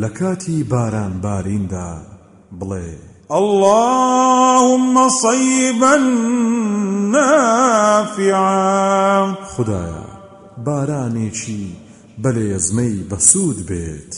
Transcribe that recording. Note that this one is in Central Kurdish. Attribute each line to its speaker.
Speaker 1: لە کاتی باران باریندا بڵێ
Speaker 2: اللهم صيبا نافعا
Speaker 1: خدایە بارانێکی بەلێزمەی بەسوود بێت